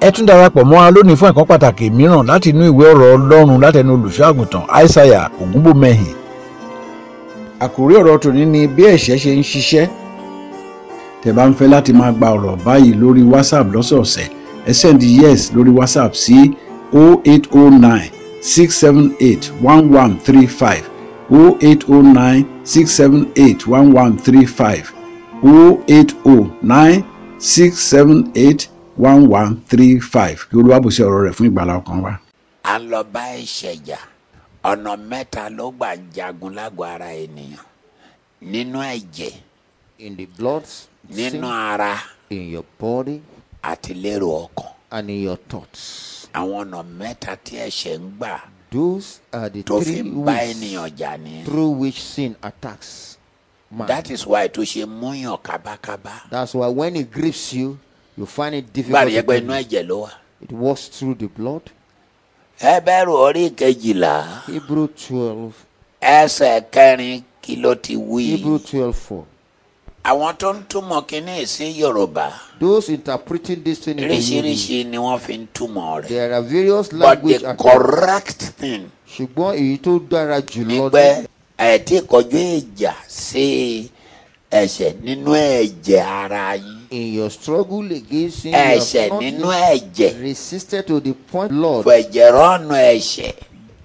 ẹ tún darapọ̀ mọ́ a lónìí fún ẹ̀kọ́ pàtàkì mìíràn láti inú ìwé ọ̀rọ̀ ọlọ́run látẹnu olùṣọ́àgùntàn aishaiya ògúnbòmẹ́hìn. àkòrí ọ̀rọ̀ tòní ni bí ẹ̀ṣẹ̀ ṣe ń ṣiṣẹ́. tẹ́ bá ń fẹ́ láti máa gba ọ̀rọ̀ báyìí lórí whatsapp lọ́sọ̀ọ̀sẹ̀ ẹ send yes lórí whatsapp sí 0809 678 1135 0809 678 1135 0809 678 one one three five kí olúwa bùsí ọ̀rọ̀ rẹ̀ fún ìgbàlá ọkàn wa. à ń lọ bá ẹ̀ṣẹ̀ jà ọ̀nà mẹ́ta ló gbà ń jagun lágọ̀ ara ènìyàn nínú ẹ̀jẹ̀ in the blood, sin, nínú ara in your body, àti lérò ọkàn and in your thoughts. àwọn ọ̀nà mẹ́ta tí ẹ̀ṣẹ̀ ń gbà Those are the tó fi three ń bá ways ènìyàn jà nìyẹn through which sin attacks man. that is why tó ṣe múyàn kábákábá That's why when it grips you, you find it gbà difficult. rí to ẹgbẹ́ inú breathe. ẹ̀jẹ̀ ló wà. It works through the blood. ẹbẹ̀rù orí kejìlá Hebrew 12, ẹsẹ̀ kẹrin kí ló ti wí. Hebrew 12 4. àwọn tó ń túmọ̀ kínní sí yorùbá Those interpreting this thing in the Hebrew, oríṣiríṣi ni wọ́n fi ń túmọ̀ rẹ̀ there are various but the language. acronym. correct thing ṣùgbọ́n èyí tó dára jùlọ nígbẹ́ ẹ̀ẹ́dì kọjú ìjà sí ẹ̀ṣẹ̀ nínú ẹ̀jẹ̀ ara yín in your struggle against sin, ẹ̀ṣẹ̀ you have nínú not ẹ̀jẹ̀ resisted to the point, Lord, fọ ẹ̀jẹ̀ rọ́ọ̀nù ẹ̀ṣẹ̀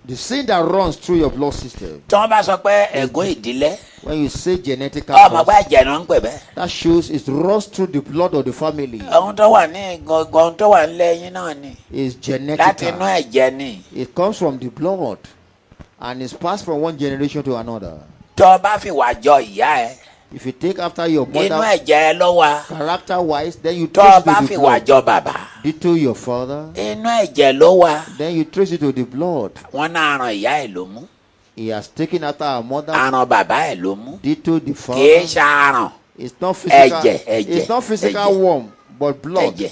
the sin that runs through your blood system. tí wọ́n bá sọ pé ẹ̀gún ìdílé When you say genetic ọmọ pé cause, ẹ̀jẹ̀ náà ń pè bẹ́ẹ̀ that shows it runs through the blood of the family. ohun tó wà ní gangan ohun tó wà nílẹ̀ yín náà ni It's láti genetic. inú ẹ̀jẹ̀ ni It comes from the blood and is passed from one generation to another. tó o bá fi wà jọ ìyá ẹ If you take after your inú mother ẹ̀jẹ̀ ẹ ló wà character wise, then you tó o trace bá it to fi the wà blood. jọ bàbá It to your father, inú ẹ̀jẹ̀ ló wà then you trace it to the blood. wọn náà ran ìyá ẹ ló mú He has taken after our mother, àrùn bàbá ẹ ló mú did to Ah. kì the í father. ṣàrùn It's not physical. Ẹ̀jẹ̀, ẹ̀jẹ̀, it's not physical ẹ̀jẹ̀. warm, but blood. ẹ̀jẹ̀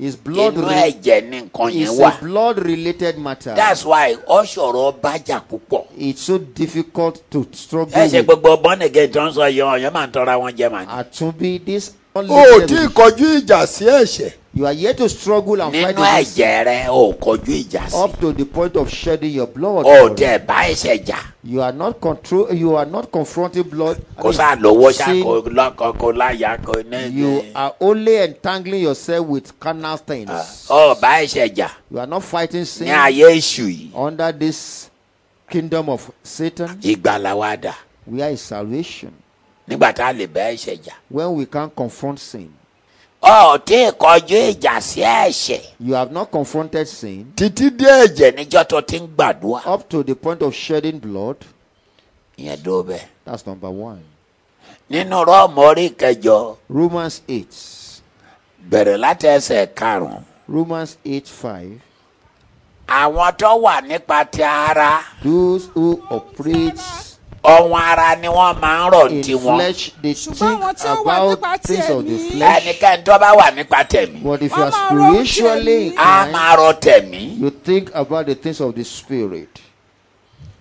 It's blood. inú Re- ẹ̀jẹ̀ ni nǹkan yẹn it's wà a blood-related matter. that's why ó ṣòro bájà púpọ̀ it's so difficult to struggle ẹ ṣe with. gbogbo bọ́nẹ̀gẹ̀ tó ń sọ yọ ọ̀yọ́ máa ń tọ́ra wọn jẹ màá ní. Àtúnbí this. o ò tí ì kọjú ìjà sí ẹ̀ṣẹ̀ You are yet to struggle and fight nínú against ẹ̀jẹ̀ rẹ ò kojú ìjà sí up to the point of shedding your ò blood. Lord. tẹ̀ bá ẹ̀ṣẹ̀ jà You are not control. You are not confronting blood. I kó mean, sáà lówó ṣá sin. kó lọ́kọ kó láyà kó You nẹ́ẹ̀ẹ́ are only entangling yourself with carnal things. ò bá ẹ̀ṣẹ̀ jà you are not fighting sin ní ayé èṣù yìí under this kingdom of Satan. ìgbàlà wa dà We are in salvation nígbà tá a lè bá ẹ̀ṣẹ̀ jà when we can't confront sin. ò tí ì kojú ìjà sí ẹ̀ṣẹ̀ You have not confronted sin títí dé ẹ̀jẹ̀ ẹ̀jẹ̀ níjọ́ tó ti ń gbàdúrà up to the point of shedding blood. ìyẹn dó bẹ́ẹ̀. That's number one. nínú rọ́ọ̀mù orí kẹjọ Romans eight. bẹ̀rẹ̀ láti ẹsẹ̀ karùn-ún. Romans eight five. àwọn tó wà nípa ti ara Those who operate ọ̀hún ara ni wọ́n máa ń rọ̀ in tiwọn. flesh they Ṣùgbọ́n think àwọn tí ó wà nípa about ti things of the ẹ̀mí. flesh ẹnikẹ́ni tó bá wà nípa tẹ̀mí but if you are Wọ́n máa ronú ti spiritually ẹ̀mí. á inclined máa rọ tẹ̀mí. you think about the things of the spirit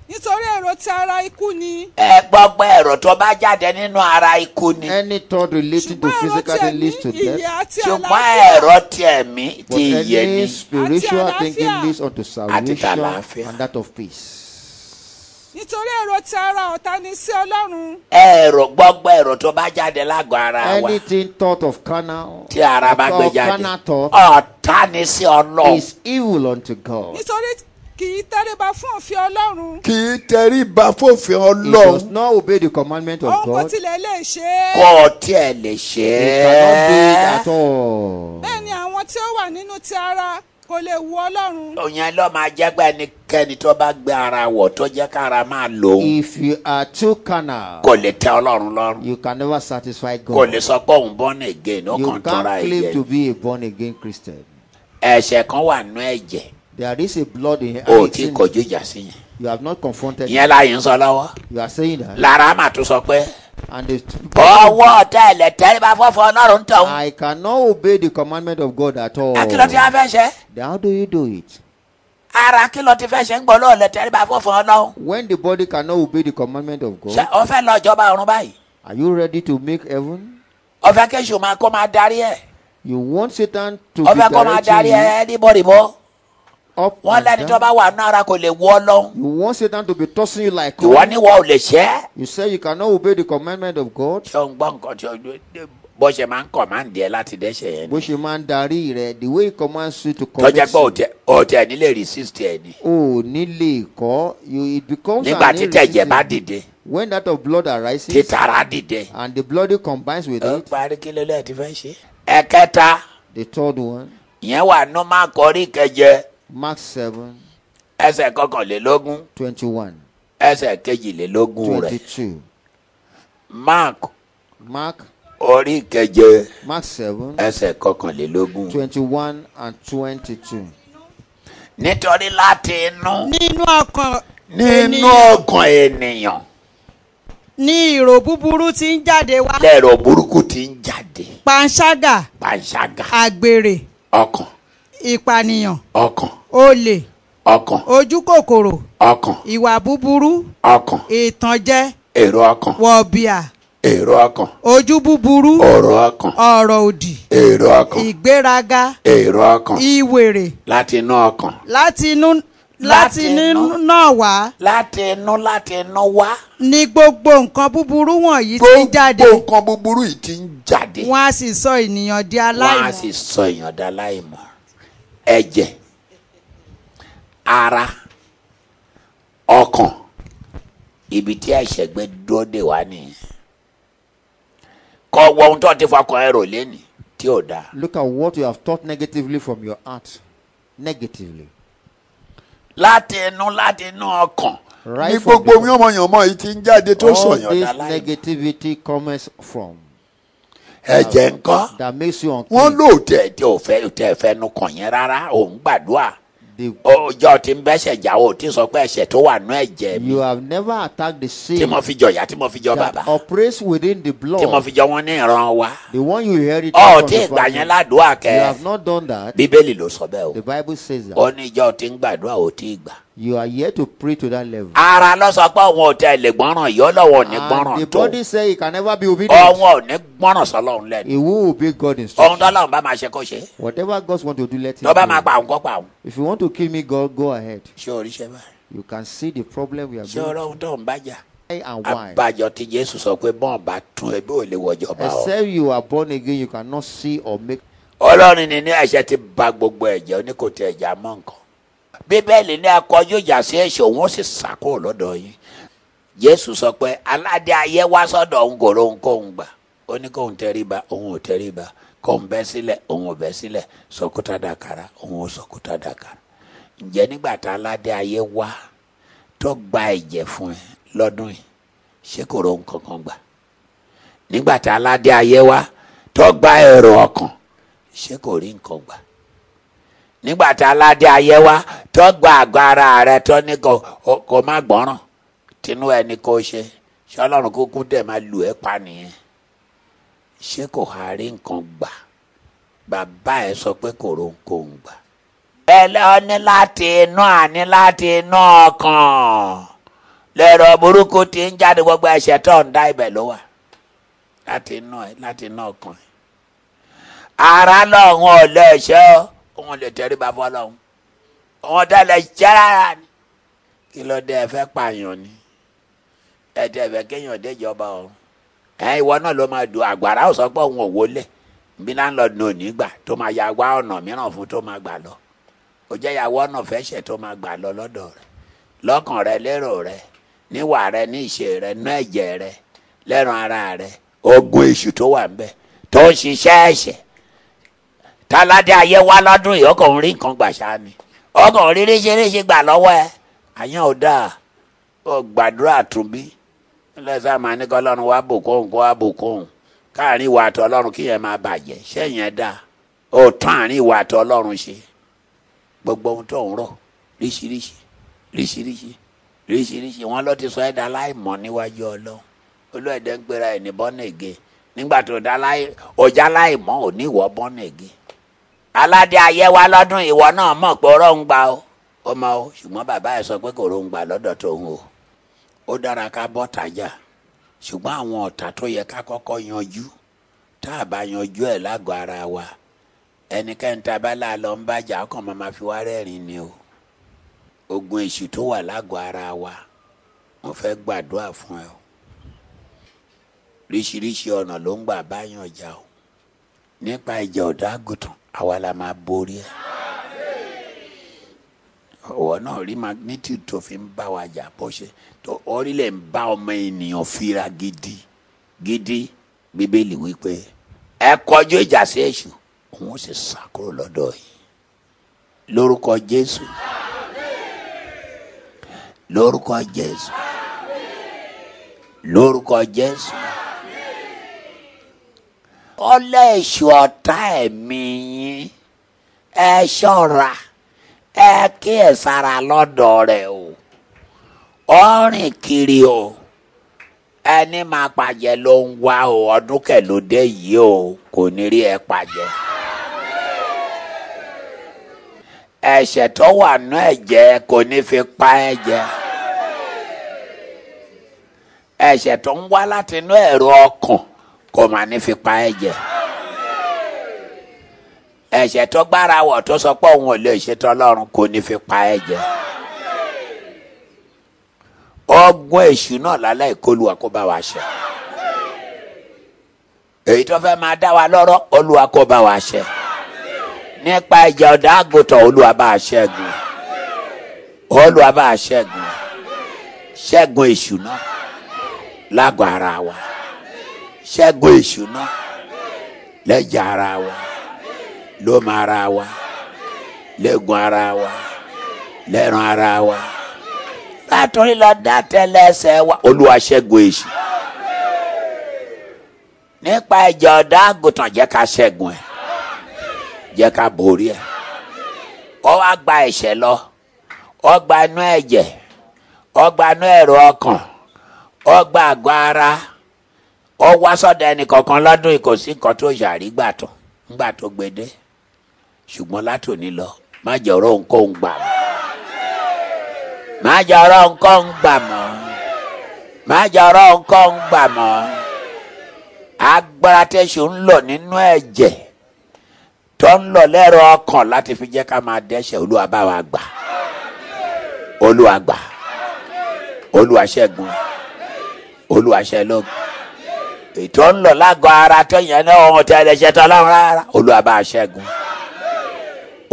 nítorí èrò ti ara ikú ni ẹ gbọ́ pé ẹ̀rọ tó bá jáde nínú ara ikú ni any thought relating to ṣùgbọ́n èrò ti physical thing ẹ̀mí leads to ìyè death àti ṣùgbọ́n àlàáfíà ẹ̀rọ ti ẹ̀mí but ti ìyè ni any spiritual Àti thinking àlàáfíà. leads unto salvation àlàáfíà. and that of peace nítorí èrò ti ara ọ̀tá ni sí ọlọ́run ẹ̀rọ gbọ́gbọ́ ẹ̀rọ tó bá jáde lágọ̀ ara wa anything thought of carnal tí ara bá gbé of jáde carnal thought ọ̀tá ni sí ọlọ́run is evil unto God nítorí kì í tẹ́lẹ̀bà fún òfin ọlọ́run kì í tẹríba fòfin he does ọlọ́run not obey the commandment of òun kò Oh God he tilẹ̀ lè ṣe kó é o tiẹ̀ lè ṣe cannot do it é. at all bẹ́ẹ̀ ni àwọn tí ó wà nínú ti ara kò lè wu ọlọ́run òyìn ló máa jẹ́ pé ẹnikẹ́ni tó bá gbé ara wọ̀ tó jẹ́ kára máa lò ó if you are too carnal kò lè tẹ ọlọ́run lọ́rùn you can never satisfy kò God lè sọ pé òun born again ó you kàn tọ́ra can't claim ẹ̀jẹ̀ to be a born again Christian. ẹ̀ṣẹ̀ kan wà nú ẹ̀jẹ̀ There is a blood in ó and it's ti in- Oh, kọjú ìjà sí yẹn You have not confronted. ìyẹn láàyè ń sọ lọ́wọ́ it. You are saying that, lára mà tún sọ pé and the ọwọ́ tẹ̀lẹ̀ tẹ́lifà fọ́fọ́ ọlọ́run tán I cannot obey the commandment of God at all. akíló tí wọ́n Then fẹ́ ṣe how do you do it ara akíló tí fẹ́ ṣe ń gbọ́ lọ́ọ̀lẹ̀ tẹ́lifà fọ́fọ́ ọlọ́run when the body cannot obey the commandment of ṣe God? ọ fẹ́ lọ ìjọba ọ̀run báyìí Are you ready to make heaven? ọ fẹ́ kéṣù máa kó máa darí ẹ̀ You want Satan to ọfẹ be kọ máa darí directing you anybody mọ́ up wọn and lẹni tó down. bá wà nínú ara kò lè wọ Ọlọ́run You want Satan to be tossing you like ìwọ corn. ni wọ́n ò lè ṣẹ́ You say you cannot obey the commandment of God. ṣé o ń gbọ́ nǹkan tí o bó ṣe máa ń kọ̀ máa ń díẹ̀ láti dẹ́ṣẹ̀ yẹn ni Which you man dari re, the way he commands you to tọ́jà pé commit sin. òtẹ òtẹ nílé resist ẹ̀ ni Oh, nílé ikọ́, you it becomes an nígbà tí tẹ̀jẹ̀ bá irresistible- dìde When that of blood tí arises tara dìde and the blood combines with ó it, parí kí ló lẹ́yìn tí fẹ́ ṣe. ẹ̀kẹta the third one, ìyẹn wà nú máa kọrí kẹjẹ Mark 7, ẹsẹ̀ kọkànlélógún 21, ẹsẹ̀ kejìlélógún rẹ̀ 22. mark Mark, orí kẹjẹ Mark 7, ẹsẹ̀ kọkànlélógún. 21 and 22. nítorí láti inú nínú ọkàn nínú ènìyàn ọkàn ènìyàn ní ìrò búburú ti ń jáde wá lẹ́rọ burúkú ti ń jáde panṣágà pàṣágà àgbèrè ọkàn ìpànìyàn ọkàn olè ọkàn ojúkòkòrò ọkàn ìwà búburú ọkàn ìtànjẹ èrò ọkàn wọ̀bìà èrò ọkàn ojú búburú ọ̀rọ̀ ọkàn ọ̀rọ̀ òdì èrò ọkàn ìgbéraga èrò ọkàn ìwèrè láti inú ọkàn. láti inú láti Láti inú inú. náà wá láti inú láti inú wá. ni gbogbo nǹkan búburú wọ̀nyí ti ń jáde gbogbo nǹkan búburú yìí ti ń jáde wọ́n á sì sọ ènìyàn di wọ́n á sì aláìmọ́ sọ èèyàn dá láìmọ̀ ẹ̀jẹ̀ ara ọkàn ibi tí ẹ̀ṣẹ̀ gbé dúró dè wá nìyẹn kọ́ wọ ohun tó ti fọkàn ẹrò lẹ́nìí tí ò dáa Look at what you have thought negatively from your heart. Negatively. láti inú láti inú ọkàn Right ní from gbogbo the- mi ọmọ yàn mọ yìí ti ń jáde tó all sọyàn this dá láìmọ̀. negativity comes from ẹ̀jẹ̀ ńkọ́ that makes you wọn unclean. lò tẹ tẹ ò fẹ́ tẹ ẹ fẹ́ nu kàn yẹn rárá ò ń gbàdúrà The- ọjọ́ tí ń bẹ́sẹ̀ jà ò tí sọ pé ẹ̀ṣẹ̀ tó wà nú ẹ̀jẹ̀ mi you have never attacked the tí sin mo fi jọ ìyá tí mo fi jọ bàbá that operates within the tí mo blood. fi jọ wọn ní ìran wa. The one you inherit ọ tí from the ìgbà yẹn family. ládùúgbà You kẹ have not done that. bíbélì ló sọ bẹ́ẹ̀ o The Bible says ó that ní ìjọ tí ń gbàdúrà ò tí ì gbà. you are yet to pray to that level. ara lọ sọ pé òun ò tẹ lè gbọ́ràn yìí ọlọ́wọ́ ò Ah, ní And the gbọ́ràn tó body say it can never be obedient. ọ̀hún ò ní gbọ́ràn sọlọ́run lẹ́nu It will obey God ohun instruction. tọ́lọ́run bá máa ṣe kó ṣe Whatever God wants to do, let tó Him bá máa pa do. àwọn kó pa àwọn. If you want to kill me, God, go ahead. ṣé orí ṣe báyìí You can see the problem we are ṣé going ọlọ́run tó ń bájà Why and why? abájọ tí jésù sọ pé bọ́ọ̀n bá tún ẹbí ò lè wọjọba o Except you are born again, you cannot see or make. ọlọ́run ni ní ẹ̀ṣẹ̀ ti ba gbogbo ẹ̀jẹ̀ ó ní kò tẹ ẹ̀jẹ̀ mọ́ nǹkan bíbélì ní akọjú ìjà sí ẹ̀ṣẹ̀ òun ó sì sàkó lọ́dọ̀ yín jésù sọ pé aládé ayé wá sọ́dọ̀ òun kò rohun kóun gbà ó ní kóun tẹríba òun ò tẹríba kóun bẹ́ sílẹ̀ òun ò bẹ́ sílẹ̀ sọkúta dàkàrà òun ò sọkúta dàkàrà ǹjẹ́ nígbà tá aládé ayé wá tó gba ẹ̀jẹ̀ fún ẹ lọ́dún yìí ṣé kò rohun kankan gbà nígbà tá aládé ayé wá tó gba èrò ọkàn ṣé kò rí nǹkan gbà nígbà tá a ládé ayé wa tó gba àgọ́ ara rẹ tó ní kò o- kò má gbọ́ràn tinú ẹni kò ṣe ṣé ọlọ́run kúkú dẹ̀ máa lù ẹ́ pa nìyẹn ṣé kò há rí nǹkan gbà bàbá ẹ sọ pé kò ro nǹkan gbà. ẹ lọ ní láti inú àní láti inú ọkàn lẹ́rọ burúkú ti ń jáde gbogbo ẹ̀ṣẹ̀ tó ń dá ibẹ̀ ló wà láti inú ẹ láti inú ọkàn ẹ ara lọ́hùn ọ̀lẹ́ṣẹ́ òun lè tẹ̀rí bàbá ọlọ́hun òun tẹ̀lẹ̀ ṣẹ́ rárá ni kí ló dé ẹ fẹ́ pààyàn ni ẹ tẹ̀ fẹ́ kéèyàn déjọba ọ̀run ẹ ìwọ náà ló máa dùn àgbàrá ò sọ pé òun ò wọlé bí láńlọ́ọ̀dù ò ní gbà tó máa ya wá ọ̀nà mìíràn fún tó máa gbà lọ ó jẹ́ ìyàwó ọ̀nà fẹ́ṣẹ̀ tó máa gbà lọ lọ́dọ̀ rẹ̀ lọ́kàn rẹ lérò rẹ níwà rẹ ní ìṣe rẹ ní ẹ̀jẹ̀ rẹ lẹ́ran ara rẹ ogun èṣù tó wà ń bẹ tó ń ṣiṣẹ́ ẹ̀ṣẹ̀ táládé ayé wá lọ́dún yìí ọkọ̀ ń rí nǹkan gbà ṣáá ni ọkọ̀ ń rí ríṣiríṣi gbà lọ́wọ́ ẹ àyàn ò dáa ó gbàdúrà tún bí lẹ́sà máa ní kọ́lọ́run wá bùkún kó wá bùkún káàrin ìwà àtọ̀ ọlọ́run kí yẹn máa bàjẹ́ ṣẹ́yìn ẹ̀ dáa ó tún àárín ìwà àtọ̀ ọlọ́run ṣe gbogbo ohun tó ń rọ̀ ríṣiríṣi ríṣiríṣi ríṣiríṣi wọn ló ti sọ ẹ̀dá láìmọ̀ níwájú ọlọ́run olóòdẹ ń pera ẹ̀ ní bọ́nẹ̀gẹ nígbà tó dá láì ọjà láìmọ̀ ò ní ìwọ bọ́nẹ̀gẹ aládé ayé wa lọ́dún ìwọ náà mọ̀ pé ọ̀rọ̀ ń gba o ó mọ o ṣùgbọ́n bàbá ẹ̀ sọ pé kò ròhùn gbà lọ́dọ̀ tóun o ó dára ká bọ́ tajà ṣùgbọ́n àwọn ọ̀tá tó yẹ ká kọ́kọ́ yanjú tá a bá yanjú ẹ̀ lágọ̀ọ́ ara wa ẹnikẹ́ni tá a bá láà lọ ń bàjẹ́ ọkàn máa ma fi wá rẹ́rìn ni o ogun èṣù tó wà lágọ̀ ara wa mo fẹ́ gbàdúrà fún ẹ o ríṣiríṣi ọ̀nà ló ń gbà báyàn jà o nípa ìjà ọ̀dọ́ àgùntàn àwa la máa borí ẹ ọ̀wọ́ náà rí magnitude tó fi ń bá wa jà bó ṣe tó orílẹ̀ ń bá ọmọ ènìyàn fira gidi gidi bíbélì wípé ẹ kọjú ìjà sí èṣù òun ó sì sá kúrò lọ́dọ̀ yìí lórúkọ jésù lórúkọ jésù lórúkọ jésù ọlẹ́ èṣù ọ̀tá ẹ̀mí yín ẹ ṣọ́ra ẹ kíyèsára lọ́dọ̀ rẹ̀ o ó rìn kiri o ẹni máa pàjẹ́ ló ń wá o ọdún kẹlódé yìí o kò ní rí ẹ pàjẹ́ ẹ̀ṣẹ̀ tó wà nú ẹ̀jẹ̀ kò ní fi pa ẹ̀jẹ̀ ẹ̀ṣẹ̀ tó ń wá láti inú ẹ̀rọ ọkàn kò má ní fi pa ẹ̀jẹ̀ ẹ̀ṣẹ̀ tó gbára wọ̀ tó sọ pé òun ò lè ṣe tọ́lọ́run kò ní fi pa ẹ̀jẹ̀ ọgbọ́n èṣù náà lálẹ́ ìkọlùwà kó bá wa ṣe èyí tó fẹ́ máa dá wa lọ́rọ̀ olúwa kó bá wa ṣe nípa ìjà ọ̀dà àgùntàn olúwa bá a ṣẹ́gun olúwa bá a ṣẹ́gun ṣẹ́gun èṣù náà lágọ̀ ara wa ṣẹ́gun èṣù náà lẹ́jà ara wa lómọ ara wa lẹ́gùn ara wa lẹ́ran ara wa látòrí lọ dá tẹ́lẹsẹ̀ wa olúwa ṣẹ́gun èṣù nípa ìjà ọ̀dà àgùntàn jẹ́ ká ṣẹ́gun ẹ̀ jẹ́ ká borí ẹ̀ ọ wá gba ẹ̀ṣẹ̀ lọ ọ gba inú ẹ̀jẹ̀ ọ gba inú ẹ̀rọ ọkàn ọ gba àgọ́ ara ọ wá sọ́dọ̀ ẹnì kankan lọ́dún yìí kò sí nǹkan tó yàrí gbà tó ńgbà tó gbede ṣùgbọ́n látòní lọ má jẹ́ ọ̀rọ̀ ohunkóhun gbà mọ́ má jẹ́ ọ̀rọ̀ ohunkóhun gbà mọ́ má jẹ́ ọ̀rọ̀ ohunkóhun gbà mọ́ agbára tẹ̀sùn ń lò nínú ẹ̀jẹ̀ tó ń lọ lẹ́rọ ọkàn láti fi jẹ́ ká máa dẹ́ṣẹ̀ olúwa bá wa gbà olúwa gbà olúwa ṣẹ́gun olúwa ṣẹlógun ètò ń lọ lágọ̀ ara tó yẹn náà ohun tí a lè ṣe tán lọ́rùn rárá olúwa bá a ṣẹ́gun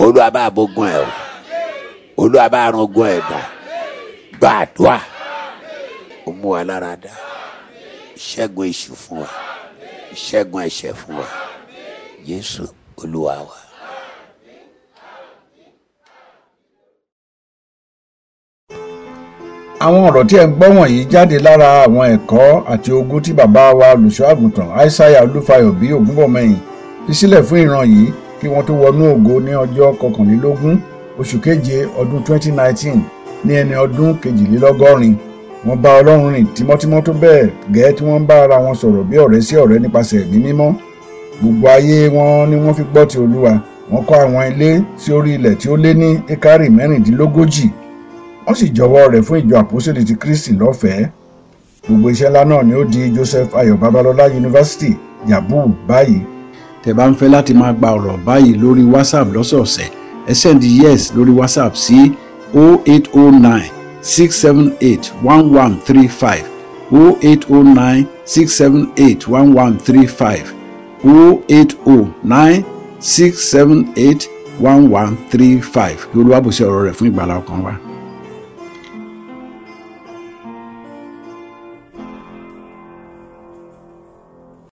olúwa bá a bógun ẹ̀ o olúwa bá a rungun ẹ̀ dà gbàdúà ó mú wa lára dá ṣẹ́gun èṣù fún wa ṣẹ́gun ẹ̀ṣẹ̀ fún wa jésù olúwa wa. àwọn ọ̀rọ̀ tí ẹ̀ ń gbọ́ wọ̀nyí jáde lára àwọn ẹ̀kọ́ àti ogun tí bàbá wa olùṣọ́àgùntàn aishaiya olúfayọ bí ògúnbọ̀mọyìn fi sílẹ̀ fún ìran yìí kí wọ́n tó wọnú ògo ní ọjọ́ kọkànlélógún oṣù keje ọdún 2019 ní ẹni ọdún kejìlélọ́gọ́rin wọ́n bá ọlọ́run rìn tímọ́tímọ́ tó bẹ́ẹ̀ gẹ́ tí wọ́n bá ara wọn sọ̀rọ̀ bí ọ̀rẹ́ sí ọ̀rẹ́ nípasẹ̀ ẹ̀mí mímọ́ gbogbo ayé wọn ni wọ́n fi gbọ́ ti olúwa wọ́n kọ́ àwọn ilé sí orí ilẹ̀ tí ó lé ní ekari mẹ́rìndínlógójì wọ́n sì jọ̀wọ́ rẹ̀ fún ìjọ àpòsílẹ̀ ti kristi lọ́fẹ̀ẹ́ gbogbo iṣẹ́ ńlá náà ni ó di joseph ayọ̀ babalọ́lá yunifásitì yabu báyìí. tẹ́ bá ń fẹ́ láti máa gba ọ̀rọ̀ báyìí lórí whatsapp lọ́sọ̀ọ̀sẹ̀ ẹ send yes lórí whatsapp sí 0809 678 1135 0809 678 1135 08096781135 kí olúwàbùsí ọ̀rọ̀ rẹ̀ fún ìgbàlá ọkàn wa.